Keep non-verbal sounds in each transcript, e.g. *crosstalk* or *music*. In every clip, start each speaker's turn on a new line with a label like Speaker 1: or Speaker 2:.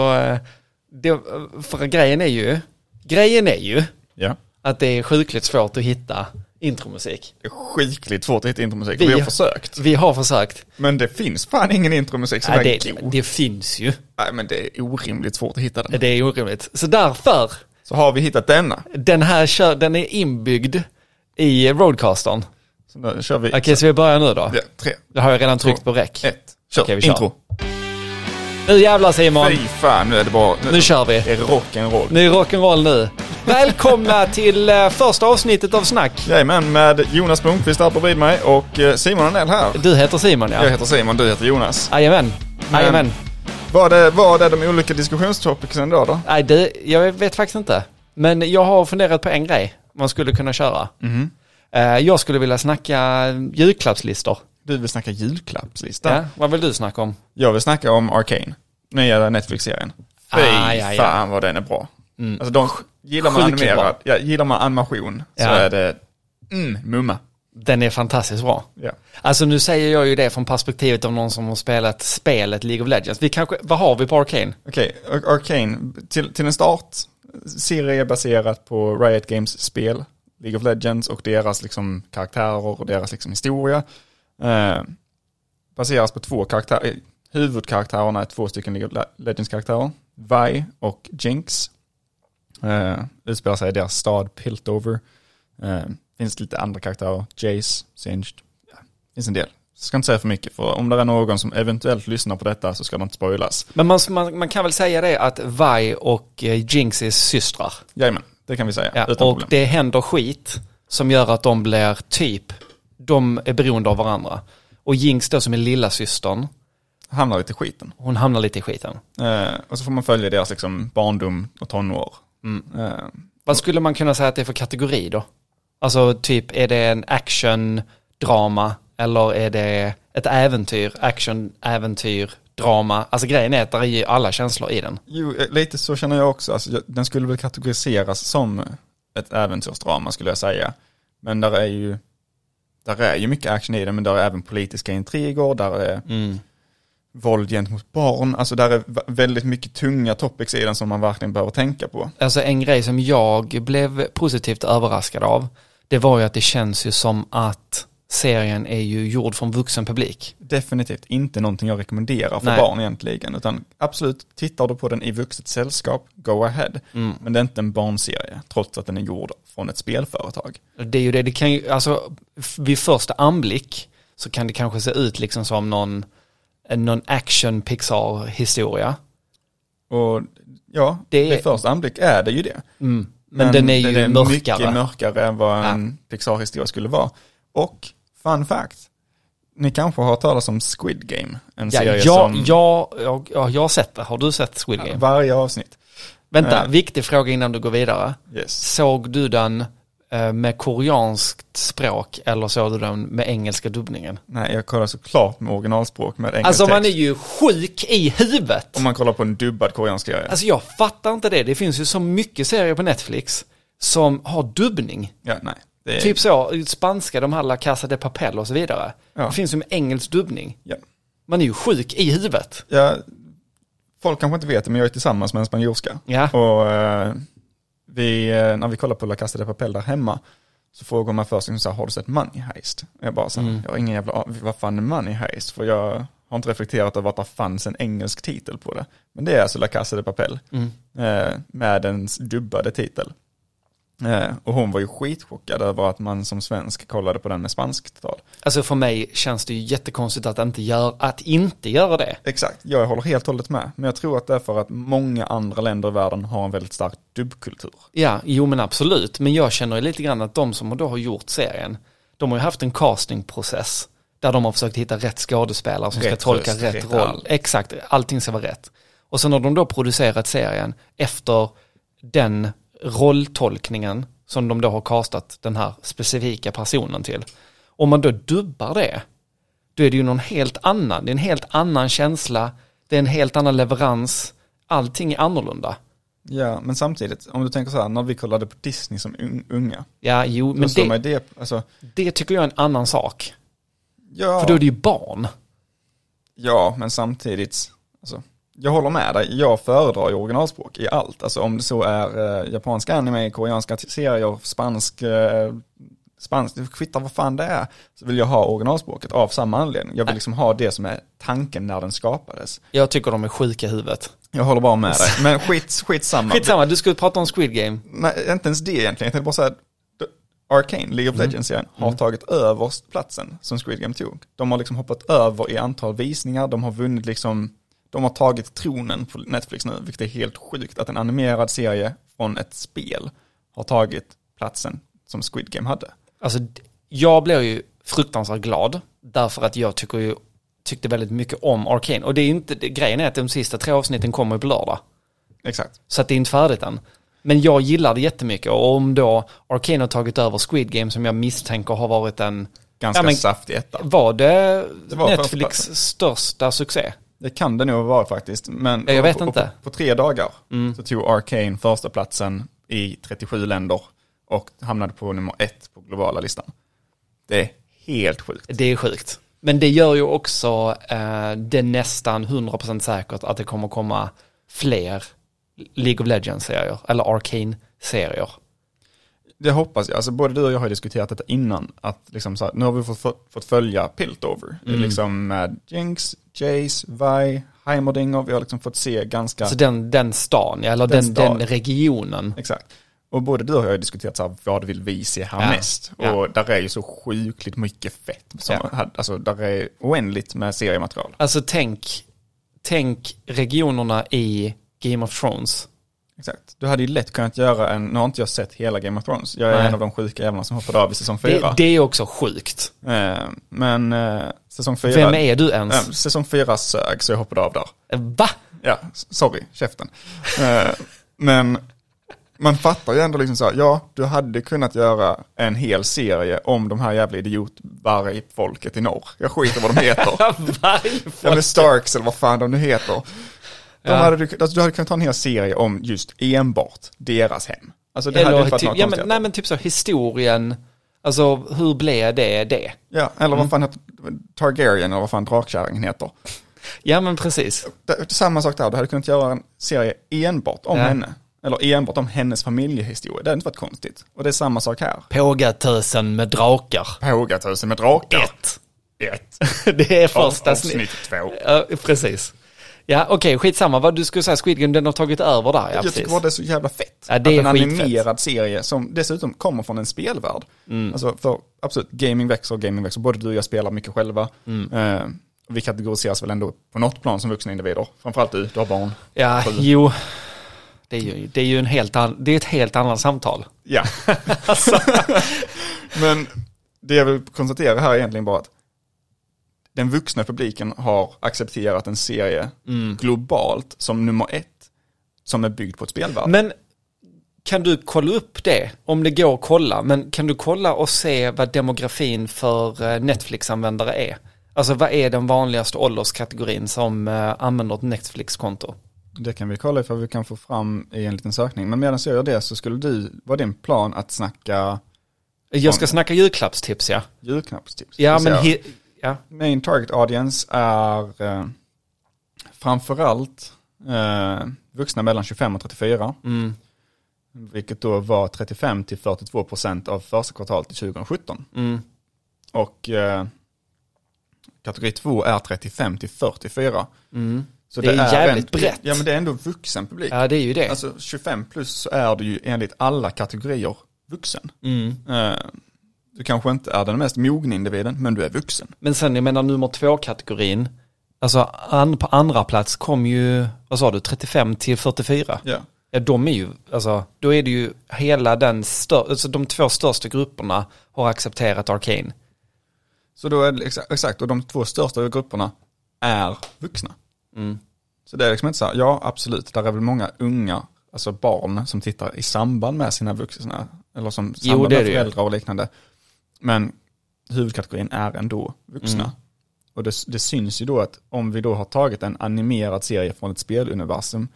Speaker 1: eh, det, för grejen är ju, grejen är ju
Speaker 2: Ja.
Speaker 1: att det är sjukligt svårt att hitta intromusik.
Speaker 2: Det är skikligt svårt att hitta intromusik.
Speaker 1: Vi-
Speaker 2: Vi har försökt.
Speaker 1: Vi har försökt.
Speaker 2: Men det finns fan ingen intromusik som
Speaker 1: Nej,
Speaker 2: är
Speaker 1: det,
Speaker 2: god.
Speaker 1: det finns ju.
Speaker 2: Nej, men det är orimligt svårt att hitta den.
Speaker 1: Det är orimligt. Så därför,
Speaker 2: Så har vi hittat denna.
Speaker 1: den här kör, den är inbyggd i roadcastern.
Speaker 2: Så nu kör vi.
Speaker 1: Okej, så vi börjar nu då.
Speaker 2: Ja, tre,
Speaker 1: Det har jag redan tryckt på räck.
Speaker 2: ett, kör.
Speaker 1: Okej, vi kör.
Speaker 2: Intro.
Speaker 1: Nu jävlar Simon,
Speaker 2: Fy fan, nu är det bara...
Speaker 1: nu kör vi.
Speaker 2: Det är rock'n'roll.
Speaker 1: Nu är rock'n'roll nu. Välkomna till eh, första avsnittet av Snack.
Speaker 2: Jajamän, med Jonas Blomqvist här bredvid mig och eh, Simon Arnell här.
Speaker 1: Du heter Simon ja.
Speaker 2: Jag heter Simon, du heter Jonas.
Speaker 1: Jajamän. Jajamän.
Speaker 2: Vad är, vad är de olika diskussionstopicsen då? då?
Speaker 1: Nej, det, jag vet faktiskt inte. Men jag har funderat på en grej man skulle kunna köra. Eh, Jag skulle vilja snacka julklappslistor.
Speaker 2: Du vill snacka julklappslista.
Speaker 1: Ja, vad vill du snacka om?
Speaker 2: Jag vill snacka om Arcane, nya Netflix-serien. Fy
Speaker 1: Ah, ja, ja.
Speaker 2: fan vad den är bra. Alltså de, gillar man
Speaker 1: Sjukligt
Speaker 2: animerad,
Speaker 1: bra.
Speaker 2: ja, gillar man animation så
Speaker 1: Ja.
Speaker 2: är det mm, mumma.
Speaker 1: Den är fantastiskt bra.
Speaker 2: Ja.
Speaker 1: Alltså nu säger jag ju det från perspektivet av någon som har spelat spelet League of Legends. Vi kanske, vad har vi på Arcane?
Speaker 2: Okej, Ar- Arcane, till, till en start, serie baserat på Riot Games spel, League of Legends och deras liksom karaktärer och deras liksom historia. Eh, baseras på två karaktärer, eh, huvudkaraktärerna är två stycken League of Le- Legends-karaktärer, Vi och Jinx. Eh, utspelar sig i deras stad Piltover. Eh, finns lite andra karaktärer, Jace, Singed, ja, finns en del. Ska inte säga för mycket, för om det är någon som eventuellt lyssnar på detta så ska de inte spoilas.
Speaker 1: Men man, man, man kan väl säga det att Vi och eh, Jinx är systrar.
Speaker 2: Jajamän, det kan vi säga.
Speaker 1: Ja, och
Speaker 2: utan problem.
Speaker 1: det händer skit som gör att de blir typ, de är beroende av varandra. Och Jinx då som är lilla systern,
Speaker 2: Hamnar lite i skiten.
Speaker 1: hon hamnar lite i skiten.
Speaker 2: Eh, och så får man följa deras liksom, barndom och tonår.
Speaker 1: Mm.
Speaker 2: Eh,
Speaker 1: Vad skulle man kunna säga att det är för kategori då? Alltså typ, är det en action, drama eller är det ett äventyr, action, äventyr, drama? Alltså grejen är att det är ju alla känslor i den.
Speaker 2: jo, eh, lite så känner jag också. Alltså, jag, den skulle väl kategoriseras som ett äventyrsdrama skulle jag säga. Men där är ju, där är ju mycket action i den, men där är även politiska intriger, där är
Speaker 1: Mm.
Speaker 2: våld gentemot barn. Alltså där är va- väldigt mycket tunga topics i den som man verkligen behöver tänka på.
Speaker 1: Alltså en grej som jag blev positivt överraskad av, det var ju att det känns ju som att serien är ju gjord från vuxen publik.
Speaker 2: definitivt inte någonting jag rekommenderar för
Speaker 1: Nej.
Speaker 2: barn egentligen. Utan absolut, tittar du på den i vuxet sällskap, go ahead. Men det är inte en barnserie, trots att den är gjord från ett spelföretag.
Speaker 1: Det är ju det, det kan ju, alltså f- vid första anblick så kan det kanske se ut liksom som någon, en- någon action Pixar-historia.
Speaker 2: Och ja,
Speaker 1: Det
Speaker 2: det
Speaker 1: är-
Speaker 2: vid första anblick är det ju det.
Speaker 1: Mm. Men, den är ju mörkare.
Speaker 2: mycket mörkare än vad en Pixar-historia skulle vara. Och, fun fact, ni kanske har hört talas om Squid Game, en
Speaker 1: ja,
Speaker 2: serie
Speaker 1: jag,
Speaker 2: som
Speaker 1: jag, jag, ja, jag har sett det, har du sett Squid Game?
Speaker 2: varje avsnitt.
Speaker 1: Vänta,
Speaker 2: eh.
Speaker 1: viktig fråga innan du går vidare.
Speaker 2: Yes.
Speaker 1: Såg du den eh, med koreanskt språk eller såg du den med engelska dubbningen?
Speaker 2: Nej, jag kollar såklart med originalspråk med engelsk
Speaker 1: Alltså man är
Speaker 2: text. Oh
Speaker 1: ju sjuk i huvudet.
Speaker 2: Om man kollar på en dubbad koreansk serie.
Speaker 1: Alltså jag fattar inte det, det finns ju så mycket serier på Netflix som har dubbning.
Speaker 2: ja, nej. Det är,
Speaker 1: Typ så, spanska, de här La Casa de Papel och så vidare.
Speaker 2: Ja.
Speaker 1: Det finns ju med engelsk dubbning.
Speaker 2: Ja.
Speaker 1: Man är ju sjuk i huvudet.
Speaker 2: jag, folk kanske inte vet det, men jag är tillsammans med en spanjorska.
Speaker 1: Ja.
Speaker 2: Och eh, vi, eh, när vi kollar på La Casa de Papel där hemma, så frågar man först, liksom så här, har du sett Money Heist? Och jag bara så här, jag har ingen jävla an- vad fan är Money Heist? För jag har inte reflekterat över att det fanns en engelsk titel på det. Men det är alltså La Casa de Papel,
Speaker 1: Mm.
Speaker 2: eh, med en dubbade titel. Eh, och hon var ju skitchockad över att man som svensk kollade på den med spanskt tal.
Speaker 1: Alltså för mig känns det ju jättekonstigt att inte, gör, att inte göra det.
Speaker 2: Exakt, jag håller helt och hållet med. Men jag tror att det är för att många andra länder i världen har en väldigt stark dubbkultur.
Speaker 1: Ja, jo men absolut. Men jag känner ju lite grann att de som då har gjort serien, de har ju haft en castingprocess där de har försökt hitta rätt skådespelare som ska
Speaker 2: Rätt
Speaker 1: tolka
Speaker 2: röst,
Speaker 1: rätt,
Speaker 2: rätt
Speaker 1: roll.
Speaker 2: allt.
Speaker 1: Exakt, allting ska vara rätt. Och sen har de då producerat serien efter den rolltolkningen som de då har castat den här specifika personen till. Om man då dubbar det, då är det ju någon helt annan. Det är en helt annan känsla, det är en helt annan leverans, allting är annorlunda.
Speaker 2: Ja, men samtidigt, om du tänker så här, när vi kollade på Disney som un- unga,
Speaker 1: Ja, jo,
Speaker 2: men
Speaker 1: men
Speaker 2: så
Speaker 1: det...
Speaker 2: det... det, alltså,
Speaker 1: Det tycker jag är en annan sak.
Speaker 2: ja,
Speaker 1: För då är det ju barn.
Speaker 2: ja, men samtidigt, alltså, jag håller med dig, jag föredrar ju originalspråk i allt. Alltså om det så är eh, japanska anime, koreanska serier, spansk, eh, spansk, det kvittar vad fan det är, så vill jag ha originalspråket av samma anledning. Jag vill liksom ha det som är tanken när den skapades.
Speaker 1: Jag tycker de är sjuka i huvudet.
Speaker 2: Jag håller bara med
Speaker 1: *laughs*
Speaker 2: dig, men skit, skitsamma.
Speaker 1: Skitsamma, du skulle prata om Squid Game.
Speaker 2: Nej, inte ens det egentligen. Jag tänkte bara säga Arcane, League of
Speaker 1: Mm.
Speaker 2: Legends igen, har tagit över platsen som Squid Game tog. De har liksom hoppat över i antal visningar, de har vunnit liksom, de har tagit tronen på Netflix nu, vilket är helt sjukt att en animerad serie från ett spel har tagit platsen som Squid Game hade.
Speaker 1: Alltså, d- jag blev ju fruktansvärt glad därför att jag tycker ju, tyckte väldigt mycket om Arcane. Och det är ju inte, det, grejen är att de sista tre avsnitten kommer på lördag.
Speaker 2: Exakt.
Speaker 1: Så att det är inte färdigt än. Men jag gillar det jättemycket och om då Arcane har tagit över Squid Game som jag misstänker har varit en,
Speaker 2: Ganska
Speaker 1: Ja, men-
Speaker 2: saftig etta.
Speaker 1: var det,
Speaker 2: Det var
Speaker 1: Netflix
Speaker 2: förstaplatsen.
Speaker 1: största succé?
Speaker 2: Det kan det nog vara faktiskt, men
Speaker 1: Ja, jag vet
Speaker 2: på, på-
Speaker 1: inte. Mm.
Speaker 2: På, på tre dagar så tog Arcane första platsen i 37 länder och hamnade på nummer ett på globala listan. Det är helt sjukt.
Speaker 1: Det är sjukt. Men det gör ju också eh, det nästan 100% säkert att det kommer komma fler League of Legends-serier eller Arcane-serier.
Speaker 2: Det hoppas jag. Alltså, både du och jag har ju diskuterat detta innan. Att liksom så här, nu har vi fått, fått, fått följa Piltover.
Speaker 1: Mm.
Speaker 2: Det är Liksom med Jinx, Jace, Vi, Heimerdinger. Vi har liksom fått se ganska...
Speaker 1: Så Alltså den, den stan, ja, eller den,
Speaker 2: Den
Speaker 1: den,
Speaker 2: stan.
Speaker 1: regionen.
Speaker 2: Exakt. Och både du och jag har ju diskuterat så här, vad vill vi se härnäst?
Speaker 1: Ja.
Speaker 2: Och där är ju så sjukligt mycket fett. Som
Speaker 1: Ja.
Speaker 2: hade, alltså, där är oändligt med seriematerial.
Speaker 1: Alltså tänk, tänk regionerna i Game of Thrones.
Speaker 2: Exakt. Du hade ju lätt kunnat göra en, nu har inte jag sett hela Game of Thrones. Jag är
Speaker 1: Nej.
Speaker 2: en av de sjuka jävlarna som hoppade av i säsong
Speaker 1: Det,
Speaker 2: fyra.
Speaker 1: det är också sjukt.
Speaker 2: Eh, Men eh, säsong fyra...
Speaker 1: Vem är du
Speaker 2: Eh,
Speaker 1: ens?
Speaker 2: Säsong fyra sög, så jag hoppade av där.
Speaker 1: Va?
Speaker 2: Ja, s- sorry, käften. Eh, men man fattar ju ändå liksom så här, ja, du hade kunnat göra en hel serie om de här jävla idiotvargfolket i norr. Jag skiter *laughs* vad
Speaker 1: *laughs*
Speaker 2: de heter. ja, men Starks eller vad fan de nu heter. De
Speaker 1: Ja.
Speaker 2: hade, du- alltså, du hade kunnat ta en hel serie om just enbart deras hem. Alltså det hade
Speaker 1: Eller
Speaker 2: inte varit
Speaker 1: typ,
Speaker 2: några
Speaker 1: ja, men,
Speaker 2: konstigheter.
Speaker 1: nej men typ så historien, alltså hur blev det det?
Speaker 2: Ja, eller
Speaker 1: Mm.
Speaker 2: vad fan heter Targaryen eller vad fan drakkärringen heter.
Speaker 1: Ja men precis.
Speaker 2: Det- Samma sak där, du hade kunnat göra en serie enbart om
Speaker 1: Ja.
Speaker 2: henne. Eller enbart om hennes familjehistoria. Det hade inte varit konstigt. Och det är samma sak här.
Speaker 1: Pågatösen med drakar.
Speaker 2: Pågathusen med drakar.
Speaker 1: Ett. *laughs*
Speaker 2: Ett.
Speaker 1: Det är första
Speaker 2: Avsnitt
Speaker 1: snitt.
Speaker 2: två.
Speaker 1: Ja, precis. Ja okej, skitsamma. Vad du skulle säga, Squid Game, den har tagit över där. Ja,
Speaker 2: Jag
Speaker 1: precis.
Speaker 2: tycker bara det är så jävla fett.
Speaker 1: Ja, det är
Speaker 2: att en
Speaker 1: skitfett.
Speaker 2: animerad serie som dessutom kommer från en spelvärld.
Speaker 1: Mm.
Speaker 2: Alltså för absolut, gaming växer och gaming växer. Både du och jag spelar mycket själva.
Speaker 1: Mm.
Speaker 2: Eh, vi kategoriseras väl ändå på något plan som vuxna individer. Framförallt du, du har barn.
Speaker 1: Ja,
Speaker 2: Sju.
Speaker 1: jo. Det är ju, det är ju en helt an, det är ett helt annat samtal.
Speaker 2: *laughs* Ja. Alltså, Men det jag vill konstatera här är egentligen bara att den vuxna publiken har accepterat en serie globalt som nummer ett som är byggd på ett spelvärld.
Speaker 1: Men kan du kolla upp det? Om det går att kolla. Men kan du kolla och se vad demografin för eh, Netflix-användare är? Alltså vad är den vanligaste ålderskategorin som eh, använder ett Netflix-konto?
Speaker 2: Det kan vi kolla ifall vi kan få fram i en liten sökning. Men medan jag gör det så skulle du, var din plan att snacka
Speaker 1: Jag ska snacka julklappstips ja.
Speaker 2: julknappstips?
Speaker 1: Ja
Speaker 2: Det
Speaker 1: men,
Speaker 2: ser jag.
Speaker 1: hi- ja.
Speaker 2: Main target audience är eh, framförallt eh, vuxna mellan 25 och 34.
Speaker 1: Mm.
Speaker 2: Vilket då var 35 till 42 procent av första kvartalet till 2017.
Speaker 1: Mm.
Speaker 2: Och eh, kategori 2 är 35 till 44.
Speaker 1: Mm.
Speaker 2: Så
Speaker 1: Det är jävligt brett.
Speaker 2: Ja men det är ändå vuxen publik.
Speaker 1: ja, det är ju det.
Speaker 2: Alltså 25 plus så är du ju enligt alla kategorier vuxen.
Speaker 1: Mm.
Speaker 2: Eh, du kanske inte är den mest mogna individen, men du är vuxen.
Speaker 1: Men sen jag menar nummer två-kategorin, alltså an, på andra plats kom ju, vad sa du, 35 till 44.
Speaker 2: Ja.
Speaker 1: Ja, de är ju, alltså, då är det ju hela den stör, alltså de två största grupperna har accepterat Arcane.
Speaker 2: Så då är det exa- exakt, och de två största grupperna är vuxna.
Speaker 1: Mm.
Speaker 2: Så det är liksom inte så här, ja absolut, där är väl många unga, alltså barn som tittar i samband med sina vuxna, eller som
Speaker 1: Jo,
Speaker 2: samband
Speaker 1: det är
Speaker 2: med
Speaker 1: det ju.
Speaker 2: föräldrar och liknande. Men huvudkategorin är ändå vuxna.
Speaker 1: Mm.
Speaker 2: Och det, det syns ju då att om vi då har tagit en animerad serie från ett speluniversum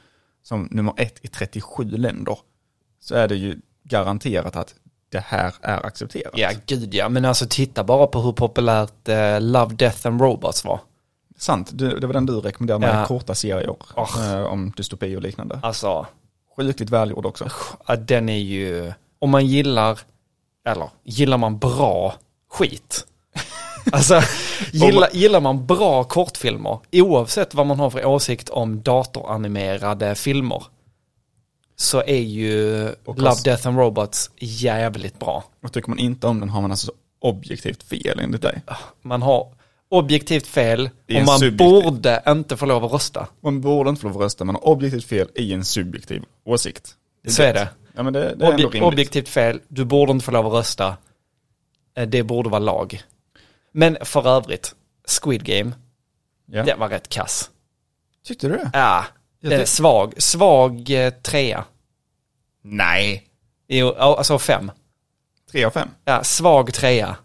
Speaker 2: som nummer ett i 37 länder, så är det ju garanterat att det här är accepterat.
Speaker 1: Ja, gud ja, men alltså titta bara på hur populärt eh, Love, Death and Robots var.
Speaker 2: sant. Du, det var den du rekommenderade med
Speaker 1: Ja.
Speaker 2: korta serier
Speaker 1: Ah.
Speaker 2: eh, om dystopi och liknande.
Speaker 1: Alltså,
Speaker 2: Sjukligt välgjord också.
Speaker 1: ja, den är ju, om man gillar, eller gillar man bra skit. *laughs* Alltså, gillar, gillar man bra kortfilmer, oavsett vad man har för åsikt om datoranimerade filmer, så är ju
Speaker 2: Och
Speaker 1: Love,
Speaker 2: kost-
Speaker 1: Death and Robots jävligt bra.
Speaker 2: Och tycker man inte om den har man alltså så objektivt fel enligt dig.
Speaker 1: Man har objektivt fel
Speaker 2: Det är
Speaker 1: och man
Speaker 2: subjektivt.
Speaker 1: borde inte få lov att rösta.
Speaker 2: Man borde inte få lov att rösta, man har objektivt fel i en subjektiv åsikt.
Speaker 1: Så är det.
Speaker 2: Ja men det, det är ändå
Speaker 1: Obje-
Speaker 2: rimligt.
Speaker 1: objektivt fel, du borde inte få lov att rösta. Eh, Det borde vara lag. Men för övrigt, Squid Game,
Speaker 2: Ja.
Speaker 1: den var rätt kass.
Speaker 2: Tyckte du det?
Speaker 1: Ja,
Speaker 2: Jag
Speaker 1: den är
Speaker 2: tyck-
Speaker 1: svag. Svag eh, trea.
Speaker 2: Nej.
Speaker 1: Jo, ja, alltså fem.
Speaker 2: Tre av fem?
Speaker 1: Ja, svag trea.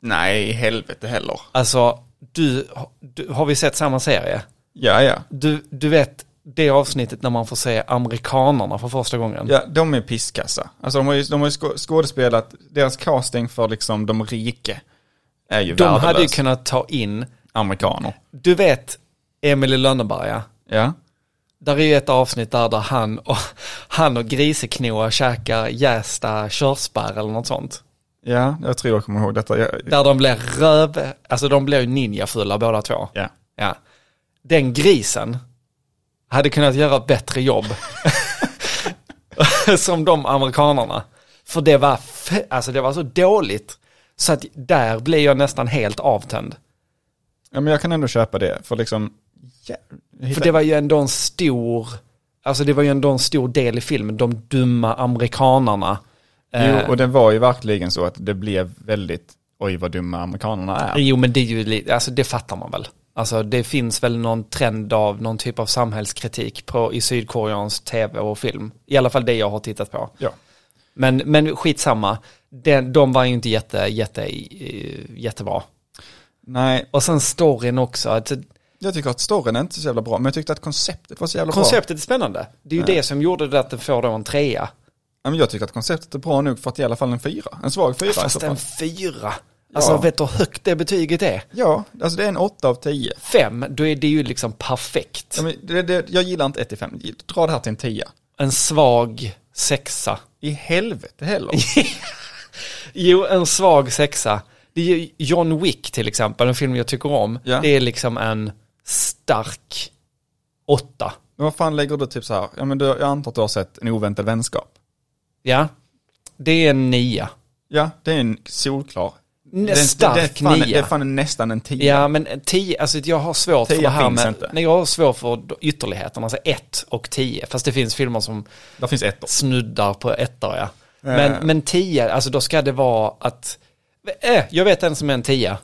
Speaker 2: Nej, i helvete heller.
Speaker 1: Alltså, du, du, har vi sett samma serie?
Speaker 2: Ja, ja.
Speaker 1: Du, du vet det avsnittet när man får se amerikanerna för första gången?
Speaker 2: Ja, de är pisskassa. Alltså de har ju, de har ju skå- skådespelat, deras casting för liksom de rike är ju
Speaker 1: De
Speaker 2: värdelös.
Speaker 1: hade ju kunnat ta in,
Speaker 2: Amerikaner.
Speaker 1: du vet Emily i Lönneberga,
Speaker 2: Ja.
Speaker 1: där är ju ett avsnitt där, där han och, han och Griseknoa käkar jästa körsbär eller något sånt.
Speaker 2: Ja, jag tror jag kommer ihåg detta. Jag,
Speaker 1: Där de blir röv, alltså de blir ju ninjafulla båda två.
Speaker 2: ja.
Speaker 1: Ja. Den grisen hade kunnat göra ett bättre jobb *laughs* som de amerikanerna. För det var, f- alltså det var så dåligt så att där blev jag nästan helt avtänd.
Speaker 2: ja, men jag kan ändå köpa det. För liksom, ja, hitta-
Speaker 1: För det var ju ändå en stor, alltså det var ju ändå en stor del i filmen, de dumma Eh, amerikanarna.
Speaker 2: jo, och det var ju verkligen så att det blev väldigt, oj vad dumma amerikanerna är.
Speaker 1: Jo men det är ju lite, alltså det fattar man väl. Alltså det finns väl någon trend av någon typ av samhällskritik på, i sydkoreansk tv och film. I alla fall det jag har tittat på.
Speaker 2: Ja.
Speaker 1: Men, men skitsamma, den, de var ju inte jätte, jätte, eh, jättebra.
Speaker 2: Nej,
Speaker 1: Och sen storyn också, att
Speaker 2: jag tycker att storyn är inte så jävla bra, men jag tyckte att konceptet var så jävla bra.
Speaker 1: konceptet är spännande. Det är ju det som gjorde det att den får då en trea.
Speaker 2: Ja, men jag tycker att konceptet är bra nog för att i alla fall en fyra, en svag fyra i så
Speaker 1: Fast
Speaker 2: fall.
Speaker 1: en fyra. Alltså
Speaker 2: Ja.
Speaker 1: vet du hur högt det betyget är?
Speaker 2: Ja, alltså det är en åtta av tio.
Speaker 1: Fem, då är det ju liksom perfekt.
Speaker 2: Ja, men det, det, jag gillar inte 1 till 5. Dra det här till en 10.
Speaker 1: En svag sexa.
Speaker 2: I helvete heller.
Speaker 1: Jo, en svag sexa. Det är ju John Wick till exempel, en film jag tycker om.
Speaker 2: Ja.
Speaker 1: Det är liksom en stark åtta.
Speaker 2: Men vad fan lägger du typ så här? Ja, men du, jag antar att du har sett en oväntad vänskap.
Speaker 1: Ja, det är en nia.
Speaker 2: Ja, det är en solklar.
Speaker 1: En
Speaker 2: det, är-
Speaker 1: stark
Speaker 2: det, är fan,
Speaker 1: nia.
Speaker 2: det är fan nästan en 10.
Speaker 1: Ja, men en tio, alltså jag har svårt för
Speaker 2: Tio
Speaker 1: det här
Speaker 2: finns
Speaker 1: med...
Speaker 2: inte.
Speaker 1: Nej, jag har svårt för ytterligheterna, alltså ett och tio. Fast det finns filmer som
Speaker 2: Där finns ettor.
Speaker 1: snuddar på ettor, ja. Men, men tio, alltså då ska det vara att... Äh, jag vet en som är en tia.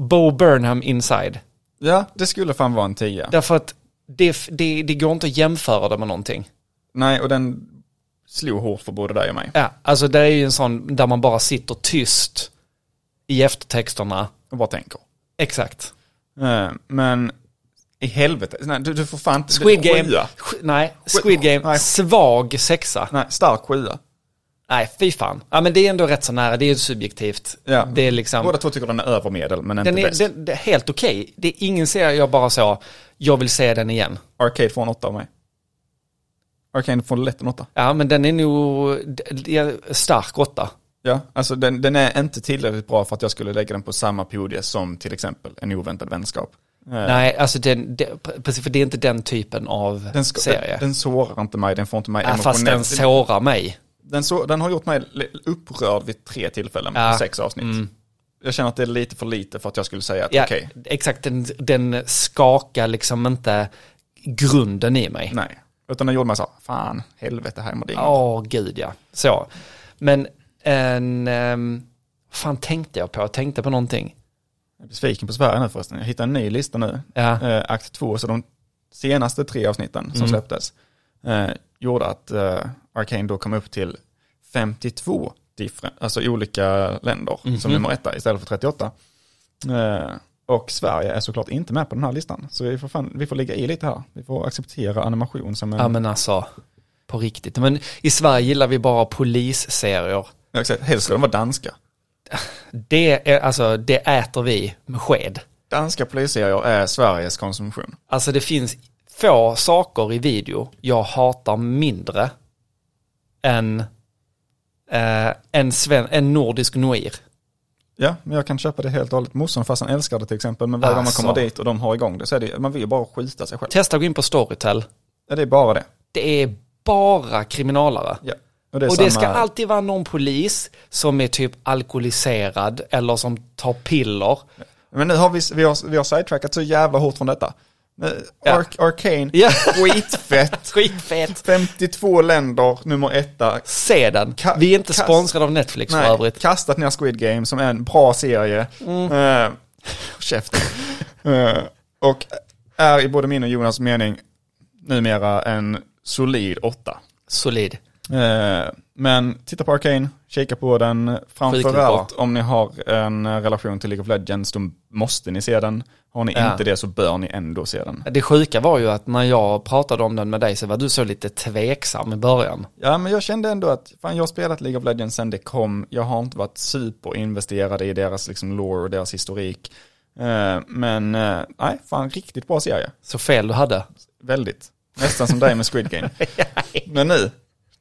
Speaker 1: Bo Burnham Inside.
Speaker 2: Ja, det skulle fan vara en 10.
Speaker 1: Därför att det, det, det går inte att jämföra det med någonting.
Speaker 2: Nej, och den slog hårt för både dig och mig.
Speaker 1: Ja, alltså det är ju en sån där man bara sitter tyst i eftertexterna.
Speaker 2: Jag bara tänker.
Speaker 1: Exakt.
Speaker 2: Eh, Men i helvete. Nej, du, du får fan inte...
Speaker 1: Squid
Speaker 2: du-
Speaker 1: Game,
Speaker 2: sjua.
Speaker 1: sk- nej, Squid Game,
Speaker 2: Nej.
Speaker 1: svag sexa.
Speaker 2: Nej, stark sjua.
Speaker 1: Nej, fy fan. Ja, men det är ändå rätt så nära, det är ju subjektivt.
Speaker 2: Ja.
Speaker 1: Det är liksom,
Speaker 2: Båda två tycker den är övermedel, men inte
Speaker 1: den är,
Speaker 2: bäst.
Speaker 1: den, det är helt okej. Det är ingen serie jag bara så, jag vill se den igen.
Speaker 2: Arcade får en 8 av mig. Arcade får lätt en 8.
Speaker 1: Ja, men den är nog det är stark åtta.
Speaker 2: Ja, alltså den, den är inte tillräckligt bra för att jag skulle lägga den på samma podie som till exempel en oväntad vänskap. Eh,
Speaker 1: Nej, alltså den, det, precis, för det är inte den typen av
Speaker 2: Den, ska,
Speaker 1: serie.
Speaker 2: den, den sårar inte mig, den får inte mig
Speaker 1: ja, Äh, fast den
Speaker 2: emotionellt. Den,
Speaker 1: sårar mig.
Speaker 2: så, den har gjort mig li- upprörd vid tre tillfällen
Speaker 1: Ja. Mm.
Speaker 2: på sex avsnitt. Jag känner att det är lite för lite för att jag skulle säga att
Speaker 1: Ja,
Speaker 2: okej,
Speaker 1: Exakt, den, den skakar liksom inte grunden i mig.
Speaker 2: nej. Utan den gjorde mig så här, fan, helvete, här mår det inget.
Speaker 1: Åh gud ja. Så. Men en... ehm, fan tänkte jag på? Jag tänkte på någonting.
Speaker 2: Jag är besviken på Sverige nu förresten. Jag hittar en ny lista nu.
Speaker 1: Ja. Mm.
Speaker 2: Eh, akt 2, så de senaste tre avsnitten som släpptes eh, gjorde att eh, Arcane då kom upp till 52 different, alltså olika länder
Speaker 1: Mm-hmm.
Speaker 2: som nummer etta istället för 38. Eh, och Sverige är såklart inte med på den här listan. Så vi får, fan, vi får ligga i lite här. Vi får acceptera animation som en...
Speaker 1: Ja men alltså, på riktigt. Men i Sverige gillar vi bara polisserier.
Speaker 2: Ja, exakt, helst ska de vara danska.
Speaker 1: Det, är, alltså, det äter vi med sked.
Speaker 2: danska polisserier är Sveriges konsumtion.
Speaker 1: Alltså det finns få saker i video jag hatar mindre än eh, en, sven- en nordisk noir.
Speaker 2: Ja, men jag kan köpa det helt och hållet. Morsan och farsan älskar det till exempel, men varje gång man
Speaker 1: Alltså.
Speaker 2: kommer dit och de har igång det så är det, man vill ju bara skjuta sig själv.
Speaker 1: Testa att gå in på Storytel.
Speaker 2: Ja, det är bara det.
Speaker 1: Det är bara kriminalare.
Speaker 2: Ja. Och det är
Speaker 1: Och
Speaker 2: samma,
Speaker 1: det ska alltid vara någon polis som är typ alkoholiserad eller som tar piller.
Speaker 2: Men nu har vi, vi har, vi har sidetrackat så jävla hårt från detta. Nu-
Speaker 1: Ja.
Speaker 2: Arc, Arcane,
Speaker 1: Ja.
Speaker 2: *laughs* skitfett.
Speaker 1: Skitfett.
Speaker 2: 52 länder, nummer etta.
Speaker 1: Se den.
Speaker 2: Ka-
Speaker 1: Vi är inte
Speaker 2: kast-
Speaker 1: sponsrade av Netflix för
Speaker 2: Nej,
Speaker 1: övrigt. Mm.
Speaker 2: kastat ner Squid Game som är en bra serie. Eh, *laughs* käften. Eh, och är i både min och Jonas mening numera en solid åtta.
Speaker 1: Solid.
Speaker 2: Eh, men titta på Arcane, kika på den.
Speaker 1: Skitbra.
Speaker 2: Framförallt om ni har en eh, relation till League of Legends, då måste ni se den. Har ni
Speaker 1: Ja.
Speaker 2: inte det så bör ni ändå se den.
Speaker 1: Det sjuka var ju att när jag pratade om den med dig så var du så lite tveksam i början.
Speaker 2: Ja, men jag kände ändå att fan, jag har spelat League of Legends sen det kom. Jag har inte varit superinvesterad i deras liksom, lore och deras historik. Eh, men eh, nej, fan riktigt bra serie.
Speaker 1: Så fel du hade.
Speaker 2: Väldigt. Nästan som dig med
Speaker 1: *laughs*
Speaker 2: Squid Game. men nu,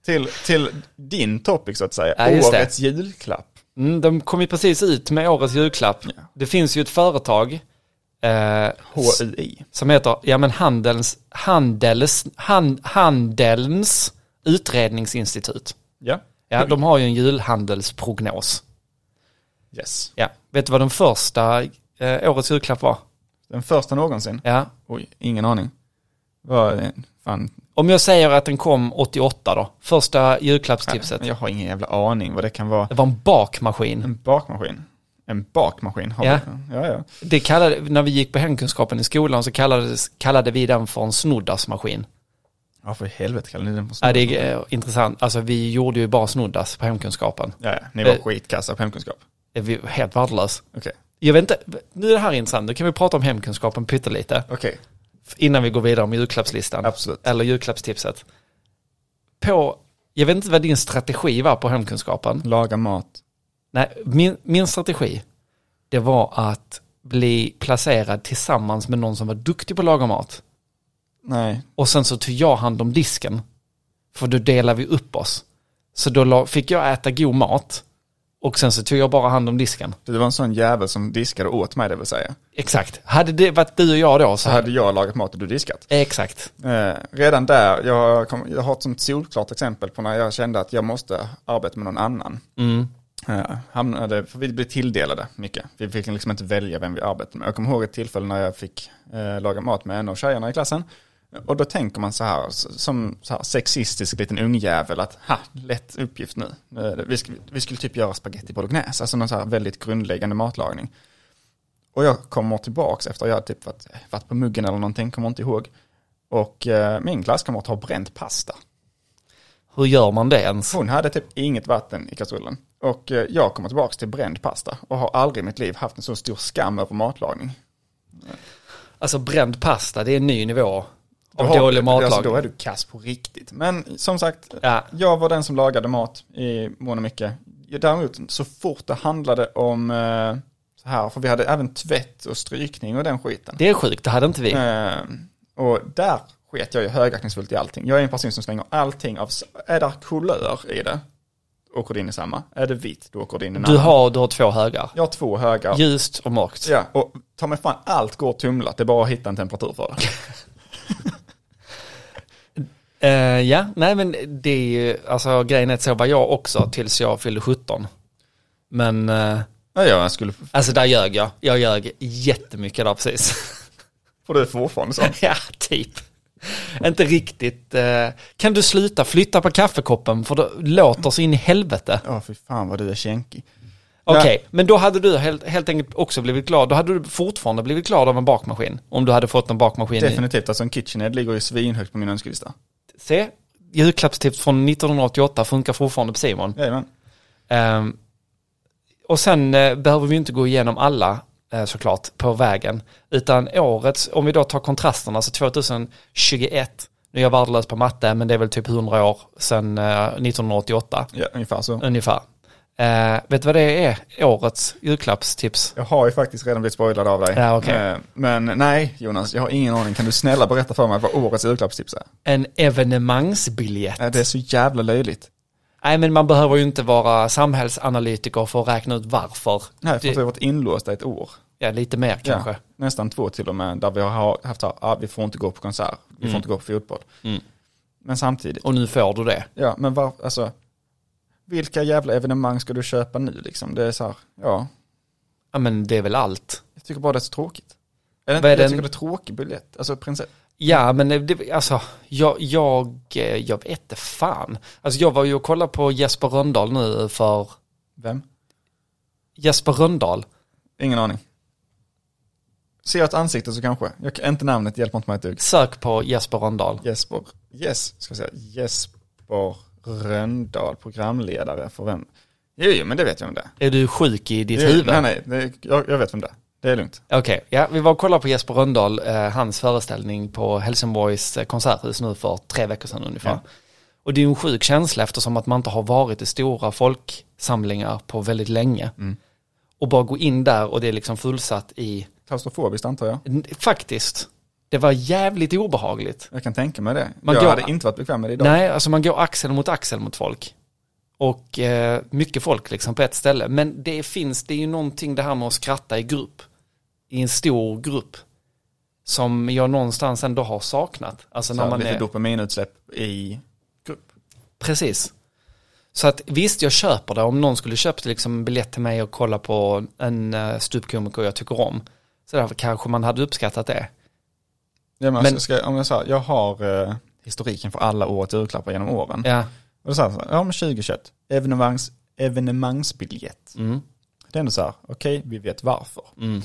Speaker 2: till, till din topic så att säga.
Speaker 1: Ja, just det.
Speaker 2: Årets julklapp.
Speaker 1: Mm, de kom ju precis ut med årets julklapp.
Speaker 2: Ja.
Speaker 1: Det finns ju ett företag eh, s-
Speaker 2: HUI.
Speaker 1: som heter ja, men Handels, Handels, Han- Handelns utredningsinstitut.
Speaker 2: Ja.
Speaker 1: Ja, de har ju en julhandelsprognos.
Speaker 2: Yes.
Speaker 1: Ja. Vet du vad den första eh, årets julklapp var?
Speaker 2: Den första någonsin.
Speaker 1: Ja.
Speaker 2: Oj, ingen aning. Vad är det? Fan.
Speaker 1: Om jag säger att den kom 88 då, första julklappstipset.
Speaker 2: Jag har ingen jävla aning vad det kan vara.
Speaker 1: Det var en bakmaskin.
Speaker 2: En bakmaskin. En bakmaskin har
Speaker 1: Ja.
Speaker 2: vi. Ja, ja.
Speaker 1: Det kallade, när vi gick på hemkunskapen i skolan så kallades, kallade vi den för en snoddasmaskin.
Speaker 2: Ja, för helvete kallar ni den för
Speaker 1: Ja,
Speaker 2: snor?
Speaker 1: det är eh, intressant. Alltså vi gjorde ju bara snoddas på hemkunskapen.
Speaker 2: Ja, ja, ni var
Speaker 1: Eh.
Speaker 2: skitkassa på hemkunskap.
Speaker 1: Det är vi helt värdelös.
Speaker 2: Okej.
Speaker 1: Jag vet inte, nu är det här intressant. Nu kan vi prata om hemkunskapen pyttelite.
Speaker 2: Okej,
Speaker 1: Innan vi går vidare med julklappslistan.
Speaker 2: absolut.
Speaker 1: Eller julklappstipset. På, jag vet inte vad din strategi var på hemkunskapen.
Speaker 2: Laga mat.
Speaker 1: Nej, min, min strategi, det var att bli placerad tillsammans med någon som var duktig på att laga mat.
Speaker 2: Nej,
Speaker 1: Och sen så tog jag hand om disken. För då delade vi upp oss. Så då la, fick jag äta god mat. Och sen så tog jag bara hand om disken.
Speaker 2: du var en sån jävel som diskade åt mig det vill säga.
Speaker 1: Exakt. Hade det varit du och jag då så
Speaker 2: Så
Speaker 1: hade...
Speaker 2: hade jag lagat mat och du diskat.
Speaker 1: Exakt.
Speaker 2: Eh, redan där, jag, kom, jag har ett sånt solklart exempel på när jag kände att jag måste arbeta med någon annan.
Speaker 1: Mm.
Speaker 2: Eh, hamnade, för vi blev tilldelade mycket. Vi fick liksom inte välja vem vi arbetade med. Jag kommer ihåg ett tillfälle när jag fick eh, laga mat med en av tjejerna i klassen. Och då tänker man så här, s- som så här sexistisk liten ungjävel, att ha, lätt uppgift nu. Eh, Vi skulle, vi skulle typ göra spaghetti bolognese, alltså någon så här väldigt grundläggande matlagning. Och jag kommer tillbaks efter jag hade typ varit, varit på muggen eller någonting, kommer inte ihåg. Och eh, min klasskamrat har bränt pasta.
Speaker 1: Hur gör man det ens?
Speaker 2: Hon hade typ inget vatten i kastrullen. Och eh, jag kommer tillbaka till bränd pasta och har aldrig i mitt liv haft en så stor skam över matlagning.
Speaker 1: Alltså bränd pasta, det är en ny nivå
Speaker 2: Då
Speaker 1: av
Speaker 2: har-
Speaker 1: dålig
Speaker 2: Alltså,
Speaker 1: matlagning.
Speaker 2: då är du kass på riktigt. Men som sagt,
Speaker 1: Ja.
Speaker 2: jag var den som lagade mat i mån och mycket. Däremot så fort det handlade om eh, så här, för vi hade även tvätt och strykning och den skiten.
Speaker 1: Det är sjukt, det hade inte vi.
Speaker 2: Eh, och där sket jag ju högaktningsfullt i allting. Jag är en person som slänger allting av, är där kulör i det, åker det in i samma. Är det vitt, då åker det in i en
Speaker 1: Du
Speaker 2: annan.
Speaker 1: har, du har två högar.
Speaker 2: Jag har två högar.
Speaker 1: Ljust och mörkt.
Speaker 2: Ja, och ta mig fan, allt går tumlat, det är bara att hitta en temperatur för det.
Speaker 1: Eh, ja, nej men det är ju, alltså grejen är att så var jag också tills jag fyllde 17. Men, eh,
Speaker 2: Ja, jag skulle,
Speaker 1: alltså där ljög jag. Jag ljög jättemycket där precis. *laughs*
Speaker 2: får du fortfarande så?
Speaker 1: ja, typ. Inte riktigt. eh, kan du sluta flytta på kaffekoppen för det låter så in i helvete.
Speaker 2: *laughs* Ja, fy fan vad du är känkig.
Speaker 1: Okej,
Speaker 2: Nej.
Speaker 1: men då hade du helt, helt enkelt också blivit glad. Då hade du fortfarande blivit glad av en bakmaskin. Om du hade fått en bakmaskin. i-
Speaker 2: Definitivt, alltså en KitchenAid ligger ju svinhögt på min önskelista.
Speaker 1: Se, julklappstips från 1988 funkar fortfarande på Simon.
Speaker 2: Jajamän.
Speaker 1: Ehm, och sen eh, behöver vi inte gå igenom alla eh, såklart på vägen. Utan årets, om vi då tar kontrasterna, så 2021, nu är jag värdelös på matte men det är väl typ 100 år sedan eh, 1988
Speaker 2: Ja, ungefär så.
Speaker 1: ungefär. Eh, Eh, vet du vad det är? Årets julklappstips.
Speaker 2: Jag har ju faktiskt redan blivit spoilad av dig.
Speaker 1: Ja, okej.
Speaker 2: Eh, Men nej, Jonas, jag har ingen aning. Kan du snälla berätta för mig vad årets julklappstips är?
Speaker 1: En evenemangsbiljett.
Speaker 2: Eh, Det är så jävla löjligt.
Speaker 1: Nej, men man behöver ju inte vara samhällsanalytiker för att räkna ut varför.
Speaker 2: Nej, för
Speaker 1: Det-
Speaker 2: att vi har varit inlåsta i ett år.
Speaker 1: Ja, lite mer kanske.
Speaker 2: Ja, nästan två till och med, där vi har haft att ah, vi får inte gå på konsert, vi får inte gå på fotboll.
Speaker 1: Mm.
Speaker 2: Men samtidigt,
Speaker 1: Och nu får du det.
Speaker 2: ja men var, alltså, vilka jävla evenemang ska du köpa nu liksom? Det är så här, ja,
Speaker 1: Ja, men det är väl allt.
Speaker 2: jag tycker bara det är så tråkigt. Eller,
Speaker 1: Vad är
Speaker 2: jag
Speaker 1: den-
Speaker 2: tycker det är tråkig biljett, alltså prinsess.
Speaker 1: Ja, men det, alltså, jag, jag, eh, jag vet inte fan. Alltså, jag var ju och kollade på Jesper Rönndahl nu för...
Speaker 2: Vem?
Speaker 1: Jesper Rönndahl?
Speaker 2: Ingen aning. Ser jag ett ansikte så kanske, jag, kan- inte namnet hjälper inte mig ett dugg.
Speaker 1: Sök på Jesper Rönndahl.
Speaker 2: Jesper, yes, ska jag säga, Jesper Röndahl, programledare för vem? Jo, jo, men det vet jag om det är.
Speaker 1: Är du sjuk i ditt
Speaker 2: Jo,
Speaker 1: huvud?
Speaker 2: Nej, nej, det, jag, jag vet vem det är. Det är lugnt.
Speaker 1: Okej, ja, vi var och kollade på Jesper Rönndahl, eh, hans föreställning på Helsingborgs eh, konserthus nu för tre veckor sedan ungefär.
Speaker 2: Ja.
Speaker 1: Och det är ju en sjuk känsla eftersom att man inte har varit i stora folksamlingar på väldigt länge. Och bara gå in där och det är liksom fullsatt i,
Speaker 2: Klaustrofobiskt antar jag.
Speaker 1: N- faktiskt, det var jävligt obehagligt.
Speaker 2: Jag kan tänka mig det.
Speaker 1: Man
Speaker 2: jag
Speaker 1: går-
Speaker 2: hade inte varit bekväm med det idag.
Speaker 1: Nej, alltså man går axel mot axel mot folk. Och eh, mycket folk liksom på ett ställe. Men det finns, det är ju någonting det här med att skratta i grupp. I en stor grupp. Som jag någonstans ändå har saknat. Alltså
Speaker 2: så
Speaker 1: när
Speaker 2: här,
Speaker 1: man
Speaker 2: lite
Speaker 1: är...
Speaker 2: dopaminutsläpp i grupp.
Speaker 1: Precis. Så att visst, jag köper det. Om någon skulle köpt liksom en biljett till mig och kolla på en eh, ståuppkomiker jag tycker om. Så där kanske man hade uppskattat det.
Speaker 2: Ja, men
Speaker 1: Men-
Speaker 2: alltså, ska, om jag sa, jag har eh, historiken för alla årets julklappar genom åren.
Speaker 1: Ja.
Speaker 2: Och då sa jag så här, ja men 2021, evenemangs, evenemangsbiljett.
Speaker 1: Mm.
Speaker 2: Det är ändå så här, okej, vi vet varför. *laughs*
Speaker 1: Mm.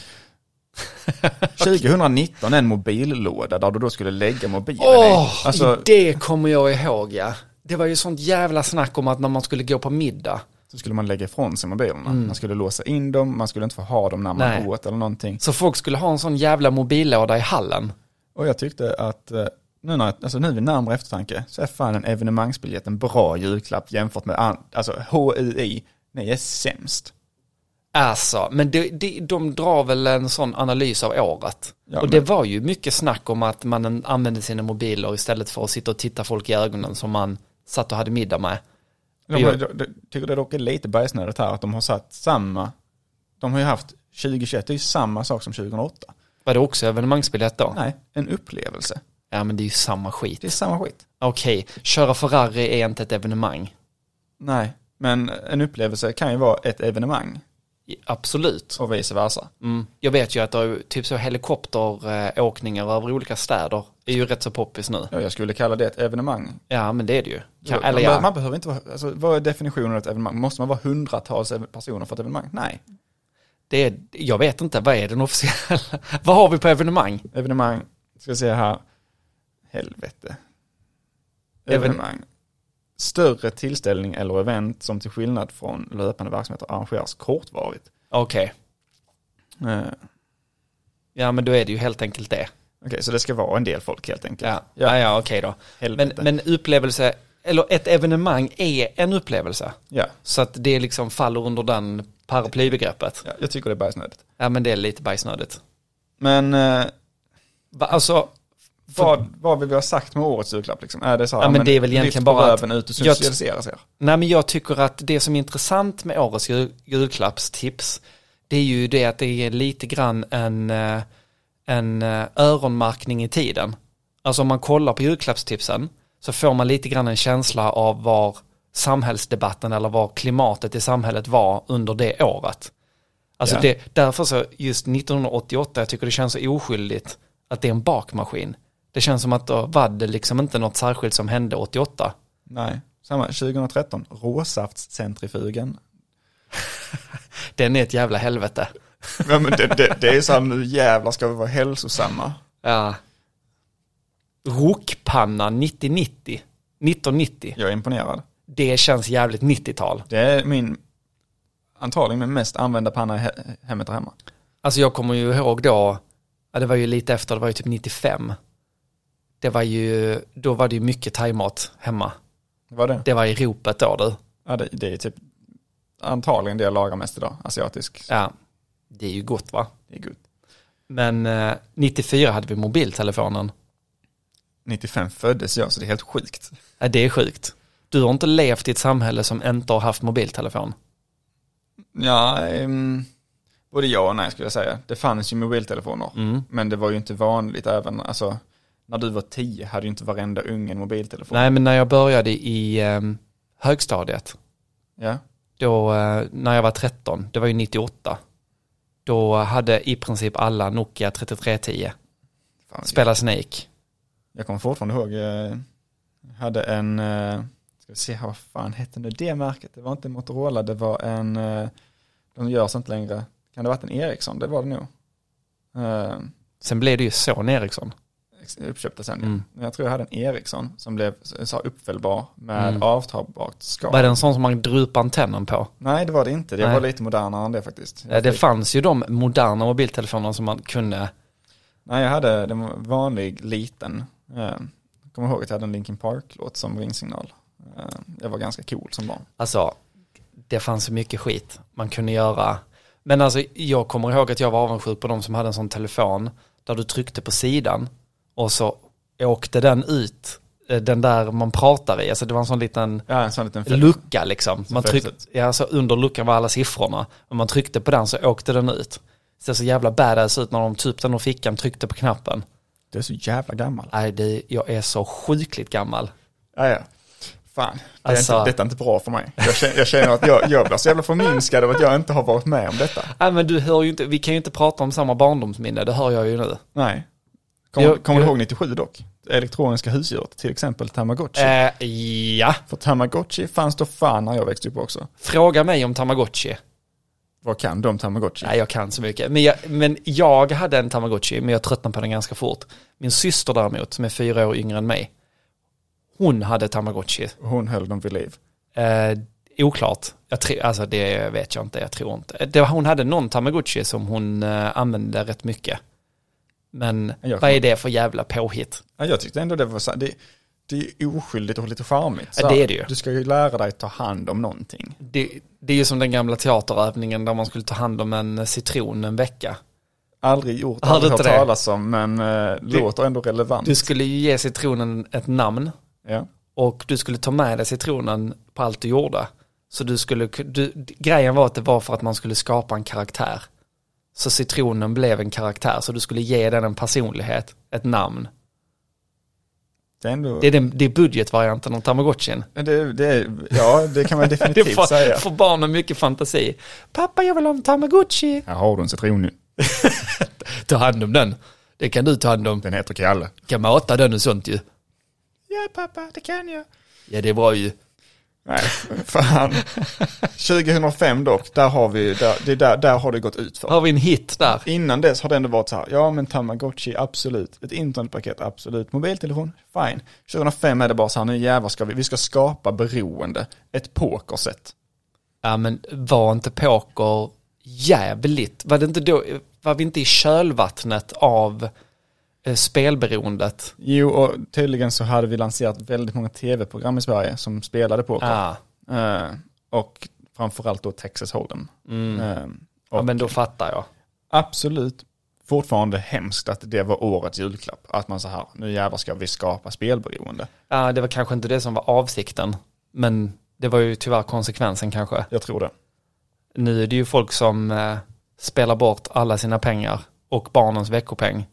Speaker 1: *laughs*
Speaker 2: 2019, en mobillåda där du då skulle lägga mobilen
Speaker 1: Åh,
Speaker 2: i. Alltså,
Speaker 1: det kommer jag ihåg ja. Det var ju sånt jävla snack om att när man skulle gå på middag.
Speaker 2: så skulle man lägga ifrån sig mobilerna. Man skulle låsa in dem, man skulle inte få ha dem när man
Speaker 1: Mm. Nej.
Speaker 2: åt eller någonting.
Speaker 1: Så folk skulle ha en sån jävla mobillåda i hallen.
Speaker 2: Och jag tyckte att eh, nu, när, alltså nu vid närmare eftertanke så är fan en evenemangsbiljett en bra julklapp jämfört med an, alltså HUI, ni är sämst.
Speaker 1: Alltså, men det, det, de drar väl en sån analys av året.
Speaker 2: Ja,
Speaker 1: och det var ju mycket snack om att man använde sina mobiler istället för att sitta och titta folk i ögonen som man satt och hade middag med.
Speaker 2: De,
Speaker 1: Ja.
Speaker 2: har- de, de, tycker det dock är lite bajsnödigt här att de har satt samma, de har ju haft 2021, det är ju samma sak som 2008.
Speaker 1: Var det också evenemangsbiljett då?
Speaker 2: Nej, en upplevelse.
Speaker 1: Ja, men det är ju samma skit.
Speaker 2: Det är samma skit.
Speaker 1: Okej, köra Ferrari är inte ett evenemang.
Speaker 2: Nej, men en upplevelse kan ju vara ett evenemang
Speaker 1: I- Absolut.
Speaker 2: och vice versa.
Speaker 1: Mm. Jag vet ju att det är ju typ så helikopteråkningar över olika städer är ju rätt så poppis nu.
Speaker 2: Ja, jag skulle kalla det ett evenemang
Speaker 1: Ja, men det är det ju. Kan,
Speaker 2: man,
Speaker 1: eller ja.
Speaker 2: man behöver inte vara, alltså, vad är definitionen av ett evenemang? Måste man vara hundratals ev- personer för ett evenemang? Nej.
Speaker 1: Det är, jag vet inte, vad är den officiella? *laughs* vad har vi på evenemang?
Speaker 2: Evenemang, ska jag säga här, helvete.
Speaker 1: Even-
Speaker 2: Evenemang. Större tillställning eller event som till skillnad från löpande verksamheter arrangeras kortvarigt.
Speaker 1: Okej,
Speaker 2: Eh, Okej,
Speaker 1: ja men då är det ju helt enkelt det.
Speaker 2: så det ska vara en del folk helt enkelt.
Speaker 1: Ja, ja, ja okej då. Men,
Speaker 2: Helvete.
Speaker 1: men upplevelse, eller ett evenemang är en upplevelse.
Speaker 2: Ja.
Speaker 1: Så att det liksom faller under den paraplybegreppet.
Speaker 2: ja, jag tycker det är bajsnödigt.
Speaker 1: Ja men det är lite bajsnödigt.
Speaker 2: Men eh,
Speaker 1: Va, Alltså,
Speaker 2: vad, vad vill vi ha sagt med årets julklapp liksom? Är det så här,
Speaker 1: Ja, men det är väl egentligen bara att-
Speaker 2: att... ut och
Speaker 1: jag-
Speaker 2: socialiseras er.
Speaker 1: nej men jag tycker att det som är intressant med årets jul, julklappstips, det är ju det att det är lite grann en, eh, en eh, öronmärkning i tiden. Alltså om man kollar på julklappstipsen så får man lite grann en känsla av var samhällsdebatten eller var klimatet i samhället var under det året. Alltså
Speaker 2: Ja.
Speaker 1: det, därför så just 1988, jag tycker det känns så oskyldigt att det är en bakmaskin. Det känns som att då var det liksom inte något särskilt som hände 88.
Speaker 2: Nej, samma. 2013,
Speaker 1: *laughs*
Speaker 2: råsaftscentrifugen.
Speaker 1: Den är ett jävla helvete.
Speaker 2: Ja, men det, det, det är så här, nu jävlar ska vi vara hälsosamma.
Speaker 1: Ja. Rokpanna 9090. 1990.
Speaker 2: Jag är imponerad.
Speaker 1: Det känns jävligt 90-tal.
Speaker 2: Det är min, antagligen min mest använda panna i he- hemmet där hemma.
Speaker 1: Alltså jag kommer ju ihåg då, ja, det var ju lite efter, det var ju typ 95. Det var ju, då var det ju mycket thaimat hemma.
Speaker 2: Vad är det?
Speaker 1: Det var i ropet då du.
Speaker 2: Ja, det, det är typ antagligen det jag lagar mest idag, asiatisk.
Speaker 1: Ja, det är ju gott va?
Speaker 2: Det är gott.
Speaker 1: Men eh, 94 hade vi mobiltelefonen.
Speaker 2: 95 föddes jag, så det är helt sjukt.
Speaker 1: Ja, det är sjukt. Du har inte levt i ett samhälle som inte har haft mobiltelefon.
Speaker 2: Ja, ehm, både ja och nej skulle jag säga. Det fanns ju mobiltelefoner,
Speaker 1: Mm.
Speaker 2: men det var ju inte vanligt även, alltså, när du var 10 hade ju inte varenda unge en mobiltelefon.
Speaker 1: Nej, men när jag började i eh, högstadiet,
Speaker 2: Ja,
Speaker 1: då, eh, när jag var 13, det var ju 98, då hade i princip alla Nokia 3310,
Speaker 2: fan,
Speaker 1: spela Snake.
Speaker 2: Jag kommer fortfarande ihåg, eh, jag hade en, eh, ska vi se här, vad fan hette nu det märket? Det var inte Motorola, det var en, eh, de görs inte längre, kan det ha varit en Ericsson? Det var det nog. Eh,
Speaker 1: Sen blev det ju Sony Ericsson.
Speaker 2: ex- Uppköpta sen.
Speaker 1: Mm.
Speaker 2: Men jag tror jag hade en Ericsson som blev så uppfällbar med
Speaker 1: Mm.
Speaker 2: avtagbart skal.
Speaker 1: Var det en sån som man drupade antennen på?
Speaker 2: Nej det var det inte, det
Speaker 1: Nej.
Speaker 2: var lite modernare än det faktiskt.
Speaker 1: Eh, Det fanns ju de moderna mobiltelefonerna som man kunde,
Speaker 2: Nej jag hade den var vanlig liten, eh, kommer ihåg att jag hade en Linkin Park-låt som ringsignal. Eh, jag var ganska cool som barn.
Speaker 1: alltså det fanns så mycket skit man kunde göra. Men alltså jag kommer ihåg att jag var avundsjuk på de som hade en sån telefon där du tryckte på sidan och så åkte den ut, eh, den där man pratar i, alltså det var en sån liten
Speaker 2: Ja, en sån liten fläkt.
Speaker 1: lucka liksom. Man
Speaker 2: fönstret.
Speaker 1: tryckte, ja, så under luckan var alla siffrorna. Om man tryckte på den så åkte den ut. Det ser så jävla badass ut när de typ den ur fickan tryckte på knappen.
Speaker 2: Du är så jävla gammal.
Speaker 1: Nej, det, jag är så sjukligt gammal.
Speaker 2: Ja, ja. Fan, det är
Speaker 1: Alltså-
Speaker 2: inte, detta är inte bra för mig. Jag känner, jag känner att jag, jag blir så jävla förminskad av att jag inte har varit med om detta.
Speaker 1: Nej, men du hör ju inte, vi kan ju inte prata om samma barndomsminne, det hör jag ju nu.
Speaker 2: Nej. Kommer
Speaker 1: Jag-
Speaker 2: kommer du
Speaker 1: jag-
Speaker 2: ihåg 97 dock? Elektroniska husdjuret, till exempel Tamagotchi.
Speaker 1: Eh, ja,
Speaker 2: För Tamagotchi fanns då fan när jag växte upp också.
Speaker 1: fråga mig om Tamagotchi.
Speaker 2: Vad kan de Tamagotchi?
Speaker 1: Nej, jag kan så mycket. Men jag, men jag hade en Tamagotchi, men jag tröttnade på den ganska fort. Min syster däremot, som är fyra år yngre än mig, hon hade Tamagotchi.
Speaker 2: Hon höll dem vid liv.
Speaker 1: Eh, oklart. Jag tror, alltså det vet jag inte, jag tror inte. Det, var- hon hade någon Tamagotchi som hon eh, använde rätt mycket. Men
Speaker 2: Jag
Speaker 1: vad är det för jävla påhitt?
Speaker 2: Ja, jag tyckte ändå det var så här, det, det är oskyldigt och lite charmigt. Så
Speaker 1: Ja,
Speaker 2: här,
Speaker 1: det är det ju.
Speaker 2: Du ska ju lära dig ta hand om någonting.
Speaker 1: Det, det är ju som den gamla teaterövningen där man skulle ta hand om en citron en vecka.
Speaker 2: Aldrig gjort,
Speaker 1: Hade
Speaker 2: aldrig hört
Speaker 1: inte det.
Speaker 2: talas om, men eh, låter ändå relevant.
Speaker 1: Du skulle ju ge citronen ett namn
Speaker 2: ja.
Speaker 1: och du skulle ta med dig citronen på allt du gjorde. Så du skulle, du, grejen var att det var för att man skulle skapa en karaktär. Så citronen blev en karaktär, så du skulle ge den en personlighet, ett namn.
Speaker 2: Det är ändå...
Speaker 1: Det är, den, det är budgetvarianten av Typ Tamagotchin.
Speaker 2: Men Det, det, ja, det *laughs* kan man
Speaker 1: Det
Speaker 2: definitivt säga.
Speaker 1: får, får barnen mycket fantasi. Pappa, jag vill ha en Tamagotchi.
Speaker 2: Här har du en citron nu.
Speaker 1: Ta hand om den. Det kan du ta hand om.
Speaker 2: Den heter Kalle.
Speaker 1: Kan mata den och sånt ju.
Speaker 2: Ja pappa, det kan jag.
Speaker 1: Ja, det är bra ju.
Speaker 2: Nej, fan. 2005 dock, där har vi, där, det är där, där har det gått ut för.
Speaker 1: Har vi en hit där?
Speaker 2: Innan dess har det ändå varit så här, ja men Tamagotchi, absolut. Ett internetpaket, absolut. Mobiltelefon, fine. 2005 är det bara så här, nu jävlar ska vi, vi ska skapa beroende. Ett pokersätt.
Speaker 1: Ja, men var inte poker jävligt? Var, det inte då, var vi inte i kölvattnet av eh, spelberoendet?
Speaker 2: Jo, och tydligen så hade vi lanserat väldigt många tv-program i Sverige som spelade poker.
Speaker 1: Ja.
Speaker 2: Eh, och framförallt då Texas Hold'em. Eh, och
Speaker 1: ja, men då fattar jag.
Speaker 2: absolut fortfarande hemskt att det var årets julklapp. Att man så här, nu jävlar ska vi skapa spelberoende.
Speaker 1: Ja, det var kanske inte det som var avsikten, men det var ju tyvärr konsekvensen kanske.
Speaker 2: Jag tror det.
Speaker 1: Nu är det ju folk som eh, spelar bort alla sina pengar och barnens veckopeng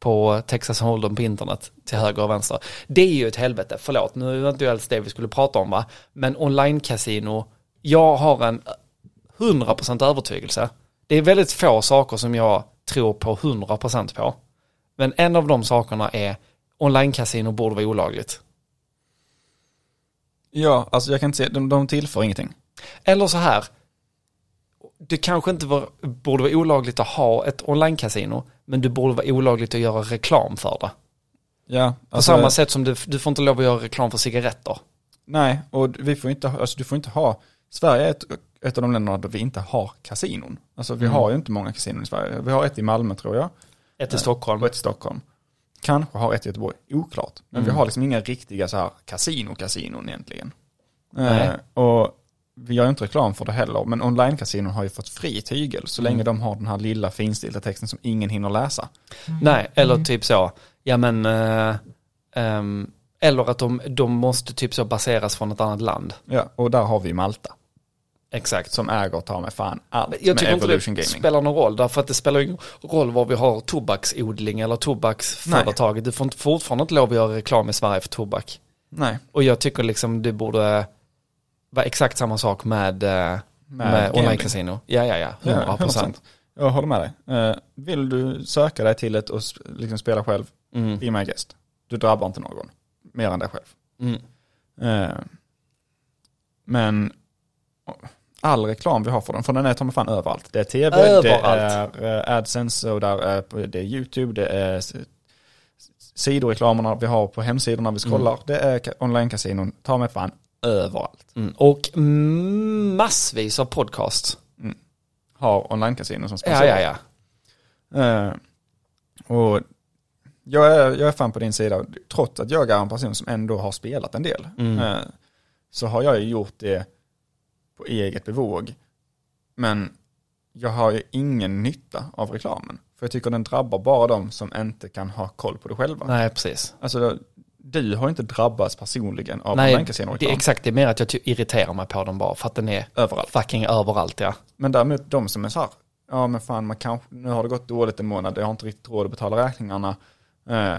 Speaker 1: på Texas Hold'em på internet till höger och vänster. Det är ju ett helvete, förlåt, nu var inte det alls det vi skulle prata om va, men online-casino, jag har en 100% övertygelse. Det är väldigt få saker som jag tror på 100% på, men en av de sakerna är online-casino borde vara olagligt.
Speaker 2: Ja, alltså jag kan inte se, de, de tillför ingenting.
Speaker 1: Eller så här, det kanske inte var, borde vara olagligt att ha ett online-casino, men det borde vara olagligt att göra reklam för det.
Speaker 2: Ja,
Speaker 1: På samma sätt som du, du får inte lov att göra reklam för cigaretter.
Speaker 2: nej, och vi får inte, ha- alltså du får inte ha, Sverige är ett, ett av de länderna där vi inte har kasinon. Alltså vi har ju inte många kasinon i Sverige. Vi har ett i Malmö tror jag,
Speaker 1: Ett i Stockholm.
Speaker 2: och ett i Stockholm. Kanske har ett i Göteborg, oklart.
Speaker 1: Mm.
Speaker 2: Men vi har liksom inga riktiga så här kasino-kasinon egentligen.
Speaker 1: Nej.
Speaker 2: Eh, och vi gör ju inte reklam för det heller, men online-kasinon har ju fått fri tygel så
Speaker 1: Mm.
Speaker 2: länge de har den här lilla finstilta texten som ingen hinner läsa.
Speaker 1: Nej, eller typ så, ja men, eh, ehm, eller att de, de måste typ så baseras från ett annat land.
Speaker 2: Ja, och där har vi Malta
Speaker 1: Exakt.
Speaker 2: som äger ta med fan allt
Speaker 1: Jag
Speaker 2: med
Speaker 1: tycker inte det
Speaker 2: Evolution Gaming.
Speaker 1: spelar någon roll, därför att det spelar ingen roll var vi har tobaksodling eller tobaksföretaget. Du får inte, fortfarande inte lov att göra reklam i Sverige för tobak.
Speaker 2: Nej,
Speaker 1: Och jag tycker liksom det borde vara exakt samma sak med, eh, med, med
Speaker 2: gaming.
Speaker 1: online-casino. Ja, ja, ja, 100%. procent.
Speaker 2: Jag håller med dig. Eh, vill du söka dig till ett och sp- liksom spela själv,
Speaker 1: Mm.
Speaker 2: be my guest. Du drabbar inte någon, mer än dig själv.
Speaker 1: Mm.
Speaker 2: Eh, men all reklam vi har för den, för den är ta mig fan överallt. Det är tv,
Speaker 1: Överallt.
Speaker 2: det är eh, AdSense och där är, på- det är YouTube, det är s- s- sidoreklamerna vi har på hemsidorna
Speaker 1: Mm.
Speaker 2: vi scrollar. Det är ka- online-kasinon, ta mig fan överallt.
Speaker 1: Mm. Och massvis av podcast.
Speaker 2: Har online-kasinon som
Speaker 1: Ja,
Speaker 2: sponsorer.
Speaker 1: ja, ja.
Speaker 2: Eh, och jag är, jag är fan på din sida, trots att jag är en person som ändå har spelat en del.
Speaker 1: Mm.
Speaker 2: eh, så har jag ju gjort det på eget bevåg. Men jag har ju ingen nytta av reklamen. För jag tycker den drabbar bara de som inte kan ha koll på det själva.
Speaker 1: Nej, precis.
Speaker 2: Alltså, du har ju inte drabbats personligen av
Speaker 1: Nej, det är
Speaker 2: online-kasinoreklam
Speaker 1: exakt. Det är mer att jag ty- irriterar mig på den bara för att den är
Speaker 2: överallt.
Speaker 1: fucking överallt, ja.
Speaker 2: Men däremot de som är så här, ja men fan man kanske, nu har det gått dåligt en månad, jag har inte riktigt råd att betala räkningarna. Eh,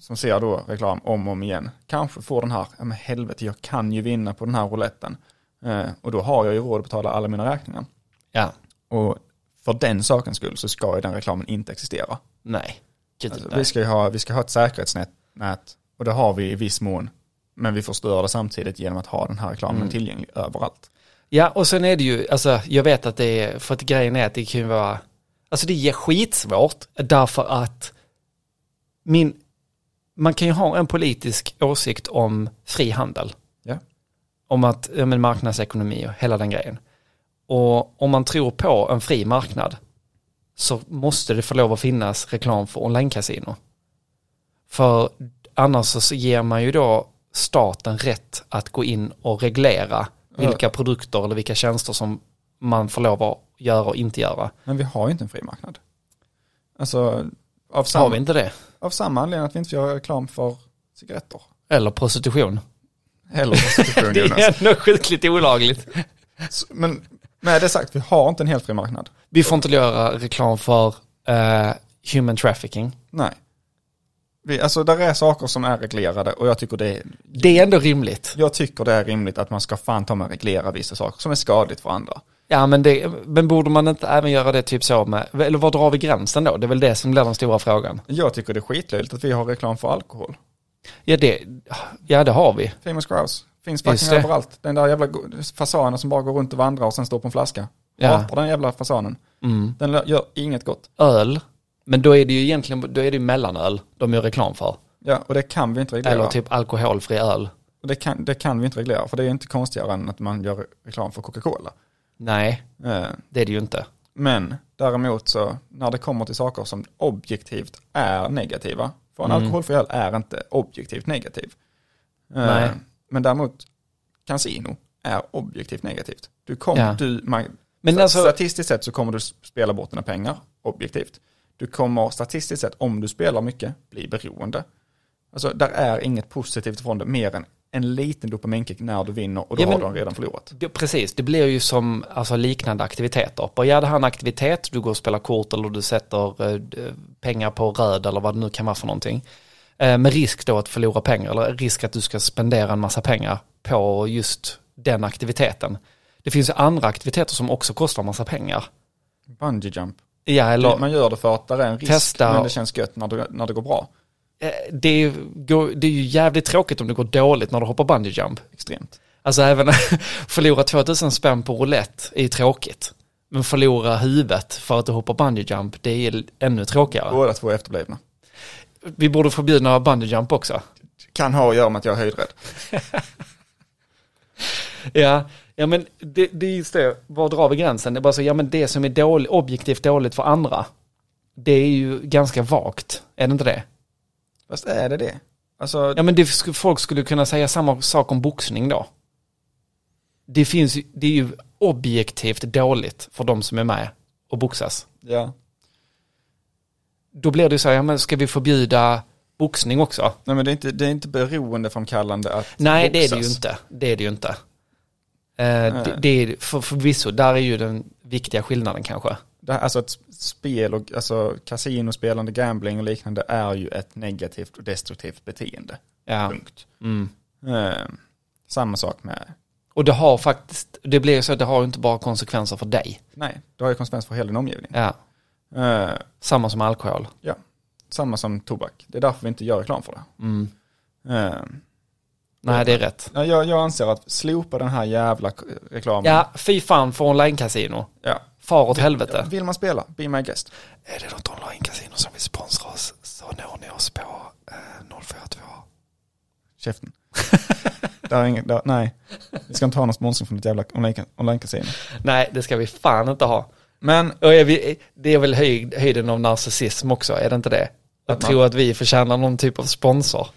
Speaker 2: som ser då reklam om och om igen. Kanske får den här, ja men helvete jag kan ju vinna på den här rouletten. Eh, och då har jag ju råd att betala alla mina räkningar.
Speaker 1: Ja,
Speaker 2: Och för den sakens skull så ska ju den reklamen inte existera.
Speaker 1: nej. Gud,
Speaker 2: Alltså,
Speaker 1: nej.
Speaker 2: vi, ska ju ha, vi ska ha ett säkerhetsnät nät, och det har vi i viss mån. Men vi förstör det samtidigt genom att ha den här reklamen
Speaker 1: Mm.
Speaker 2: tillgänglig överallt.
Speaker 1: Ja, och sen är det ju, alltså jag vet att det är, för att grejen är att det kan ju vara, alltså det är skitsvårt därför att min, man kan ju ha en politisk åsikt om frihandel,
Speaker 2: Ja.
Speaker 1: om att, ja men marknadsekonomi och hela den grejen. Och om man tror på en fri marknad så måste det få lov att finnas reklam för online-casino. För annars så ger man ju då staten rätt att gå in och reglera vilka produkter eller vilka tjänster som man får lov att göra och inte göra.
Speaker 2: Men vi har ju inte en fri marknad. Alltså, av
Speaker 1: Har
Speaker 2: samma,
Speaker 1: vi inte det?
Speaker 2: av samma anledning att vi inte får göra reklam för cigaretter.
Speaker 1: Eller prostitution. *laughs*
Speaker 2: Eller prostitution
Speaker 1: Det
Speaker 2: Jonas.
Speaker 1: är ändå sjukligt olagligt.
Speaker 2: Så- Men med det sagt, vi har inte en helt fri marknad.
Speaker 1: Vi får inte göra reklam för eh, human trafficking.
Speaker 2: Nej. Vi, alltså där är saker som är reglerade och jag tycker, det är,
Speaker 1: Det är ändå rimligt.
Speaker 2: jag tycker det är rimligt att man ska fan ta med reglera vissa saker som är skadligt för andra.
Speaker 1: Ja, men, det, men borde man inte även göra det typ så med, eller var drar vi gränsen då? Det är väl det som blir den stora frågan.
Speaker 2: Jag tycker det är skitlöjligt att vi har reklam för alkohol.
Speaker 1: Ja, det, ja, det har vi.
Speaker 2: Famous Grouse finns
Speaker 1: Just
Speaker 2: fucking
Speaker 1: det.
Speaker 2: överallt. Den där jävla go- fasanen som bara går runt och vandrar och sen står på en flaska.
Speaker 1: Ja. Mm.
Speaker 2: Apar den jävla fasanen. Den lö- gör inget gott.
Speaker 1: Öl, men då är det ju egentligen, då är det ju mellanöl de gör reklam för.
Speaker 2: Ja, och det kan vi inte reglera.
Speaker 1: Eller typ alkoholfri öl.
Speaker 2: Och det kan, det kan vi inte reglera, för det är inte konstigare än att man gör reklam för Coca-Cola.
Speaker 1: Nej,
Speaker 2: Eh,
Speaker 1: det är det ju inte.
Speaker 2: Men däremot så, när det kommer till saker som objektivt är negativa, för en
Speaker 1: Mm.
Speaker 2: alkoholfri öl är inte objektivt negativ. Eh,
Speaker 1: Nej.
Speaker 2: Men däremot, casino är objektivt negativt. Du kommer,
Speaker 1: Ja.
Speaker 2: du, man,
Speaker 1: Men
Speaker 2: sta-
Speaker 1: alltså-
Speaker 2: statistiskt sett så kommer du spela bort dina pengar, objektivt. Du kommer statistiskt sett, om du spelar mycket, bli beroende. Alltså, där är inget positivt från det, mer än en liten dopaminkick när du vinner och då
Speaker 1: Ja,
Speaker 2: har
Speaker 1: men-
Speaker 2: du redan förlorat.
Speaker 1: Det, precis, det blir ju som alltså, liknande aktiviteter. Bara gör det här en aktivitet, du går och spelar kort eller du sätter eh, d- pengar på röd eller vad det nu kan vara för någonting. Eh, med risk då att förlora pengar eller risk att du ska spendera en massa pengar på just den aktiviteten. Det finns ju andra aktiviteter som också kostar en massa pengar.
Speaker 2: Bungee jump.
Speaker 1: Ja, eller
Speaker 2: Man gör det för att det är en risk,
Speaker 1: Testa.
Speaker 2: men det känns gött när det, när det går bra.
Speaker 1: eh, det, är, ju- går- det är ju jävligt tråkigt om det går dåligt när du hoppar bungee jump.
Speaker 2: Extremt.
Speaker 1: Alltså även *laughs* förlora 2000 spänn på roulette är ju tråkigt. Men förlora huvudet för att du hoppar bungee jump, det är ännu tråkigare.
Speaker 2: Båda två är efterblivna.
Speaker 1: Vi borde förbjuda bungee jump också.
Speaker 2: Kan ha att göra med att jag är höjdrädd.
Speaker 1: Ja, ja men det, det är just det, var drar vi gränsen? Det är bara så, ja men det som är dålig, objektivt dåligt för andra, det är ju ganska vagt, är det inte det?
Speaker 2: Fast är det det? Alltså,
Speaker 1: Ja men det, sk- folk skulle kunna säga samma sak om boxning då. det finns ju- det är ju objektivt dåligt för de som är med och boxas.
Speaker 2: Ja.
Speaker 1: Då blir det ju så här, ja, men ska vi förbjuda boxning också?
Speaker 2: Nej men det är inte, det är inte beroendeframkallande att
Speaker 1: Nej,
Speaker 2: boxas.
Speaker 1: det är det ju inte. Det är det ju inte. Eh,
Speaker 2: Nej.
Speaker 1: det, det är för, förvisso, där är ju den viktiga skillnaden kanske.
Speaker 2: Det här, alltså ett spel och alltså kasinospelande, gambling och liknande är ju ett negativt och destruktivt beteende.
Speaker 1: Ja.
Speaker 2: Punkt.
Speaker 1: Mm.
Speaker 2: Eh, samma sak med,
Speaker 1: Och det har faktiskt, det blir ju så att det har ju inte bara konsekvenser för dig.
Speaker 2: nej, det har ju konsekvenser för hela din omgivning.
Speaker 1: Ja.
Speaker 2: Eh,
Speaker 1: Samma som alkohol.
Speaker 2: ja, samma som tobak. Det är därför vi inte gör reklam för det.
Speaker 1: Mm.
Speaker 2: Eh,
Speaker 1: Nej, det är rätt.
Speaker 2: ja, jag, jag anser att slopa den här jävla k- reklamen.
Speaker 1: Ja, fy fan för online-casino.
Speaker 2: Ja.
Speaker 1: Far åt helvete.
Speaker 2: Vill man spela, be my guest.
Speaker 1: Är det något online-casino som vill sponsra oss så når ni oss på eh, 042. *laughs*
Speaker 2: Käften. där är inget, där, nej, vi ska inte ha någon sponsring från ditt jävla online- online-kasino.
Speaker 1: Nej, det ska vi fan inte ha.
Speaker 2: Men
Speaker 1: Och är vi, det är väl höjd, höjden av narcissism också, är det inte det? Att
Speaker 2: man-
Speaker 1: tro att vi förtjänar någon typ av sponsor.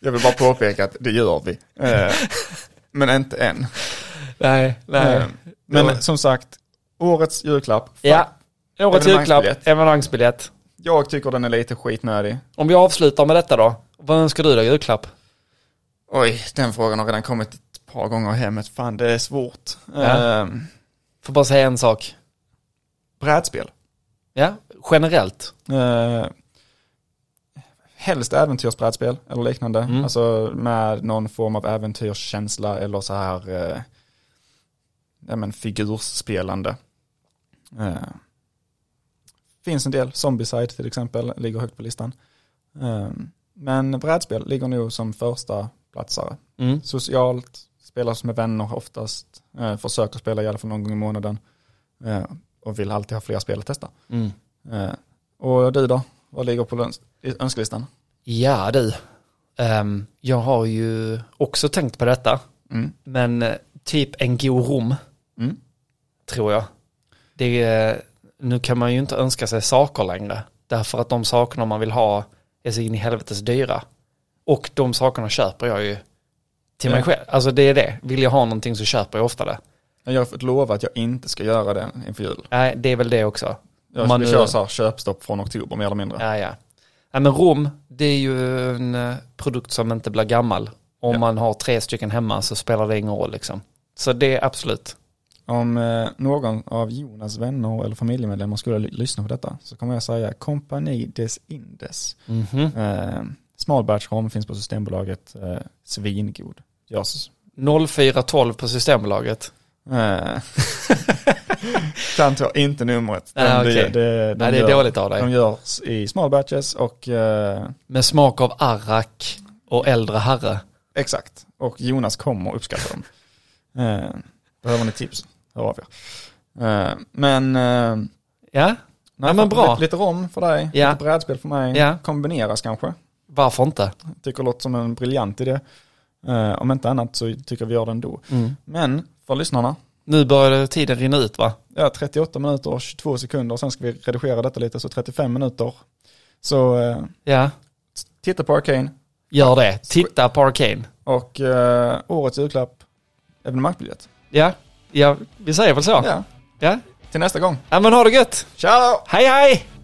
Speaker 2: Jag vill bara påpeka att det gör vi. Eh, Men inte än.
Speaker 1: Nej, nej.
Speaker 2: Eh, Men som sagt, årets julklapp.
Speaker 1: Ja, årets julklapp,
Speaker 2: Evenemangsbiljett.
Speaker 1: evenemangsbiljett.
Speaker 2: Jag tycker den är lite skitnödig.
Speaker 1: Om vi avslutar med detta då, vad önskar du dig i julklapp?
Speaker 2: Oj, den frågan har redan kommit ett par gånger i hemmet. Fan, det är svårt.
Speaker 1: Ja.
Speaker 2: Eh,
Speaker 1: Får bara säga en sak.
Speaker 2: Brädspel.
Speaker 1: Ja, generellt.
Speaker 2: Eh, Helst äventyrsbrädspel eller liknande. Alltså med någon form av äventyrskänsla eller så här eh, ja, men figurspelande. Eh, finns en del, Zombieside till exempel, ligger högt på listan. Eh, men brädspel ligger nog som första platsare.
Speaker 1: Mm.
Speaker 2: Socialt, spelas med vänner oftast, eh, försöker spela i alla fall någon gång i månaden eh, och vill alltid ha fler spel att testa.
Speaker 1: Mm.
Speaker 2: Eh, och du då? Vad ligger på löns- i- önskelistan?
Speaker 1: Ja du, Ehm, jag har ju också tänkt på detta,
Speaker 2: Mm.
Speaker 1: men eh, typ en god rom
Speaker 2: Mm.
Speaker 1: tror jag. Det är, nu kan man ju inte önska sig saker längre, därför att de sakerna man vill ha är så in i helvetes dyra. Och de sakerna köper jag ju till mig
Speaker 2: Ja.
Speaker 1: själv. Alltså det är det, vill jag ha någonting så köper jag ofta det.
Speaker 2: Jag har fått lova att jag inte ska göra det inför jul.
Speaker 1: Nej, det är väl det också.
Speaker 2: Jag
Speaker 1: Man-
Speaker 2: Man kör så här köpstopp från oktober mer eller mindre.
Speaker 1: Ja, ja. ja men rom, det är ju en eh, produkt som inte blir gammal. Om
Speaker 2: Ja.
Speaker 1: man har tre stycken hemma så spelar det ingen roll liksom. Så det är absolut.
Speaker 2: Om eh, någon av Jonas vänner eller familjemedlemmar skulle ly- lyssna på detta så kommer jag säga kompani des Indes.
Speaker 1: Mhm.
Speaker 2: Eh, Smalbatchrom finns på Systembolaget, eh, svingod. Görs.
Speaker 1: 0412 på Systembolaget. *laughs*
Speaker 2: Eh, Kan ta inte numret.
Speaker 1: Nej,
Speaker 2: men
Speaker 1: okej.
Speaker 2: det,
Speaker 1: Nej, det är
Speaker 2: gör,
Speaker 1: dåligt av
Speaker 2: de
Speaker 1: dig.
Speaker 2: görs i small batches och eh,
Speaker 1: Med smak av arrak och äldre herre.
Speaker 2: Exakt, och Jonas kommer
Speaker 1: *laughs*
Speaker 2: uppskatta dem. Eh, behöver ni tips, hör av er. Eh, men, eh, nej,
Speaker 1: Ja, men
Speaker 2: fan,
Speaker 1: bra.
Speaker 2: Lite, lite rom för dig,
Speaker 1: Ja.
Speaker 2: lite brädspel för mig.
Speaker 1: Ja.
Speaker 2: Kombineras kanske.
Speaker 1: varför inte?
Speaker 2: Tycker det låter som en briljant idé. Eh, om inte annat så tycker vi gör det ändå. Men för lyssnarna,
Speaker 1: Nu börjar tiden rinna ut va?
Speaker 2: ja, 38 minuter och 22 sekunder, sen ska vi redigera detta lite, så 35 minuter. Så eh,
Speaker 1: Ja,
Speaker 2: titta på Arcane
Speaker 1: gör det. Titta på Arcane.
Speaker 2: och eh, årets julklapp, evenemangsbiljett.
Speaker 1: Ja, ja, vi säger väl så.
Speaker 2: Ja,
Speaker 1: Ja,
Speaker 2: till nästa gång.
Speaker 1: ja men ha det gött.
Speaker 2: Ciao!
Speaker 1: Hej hej!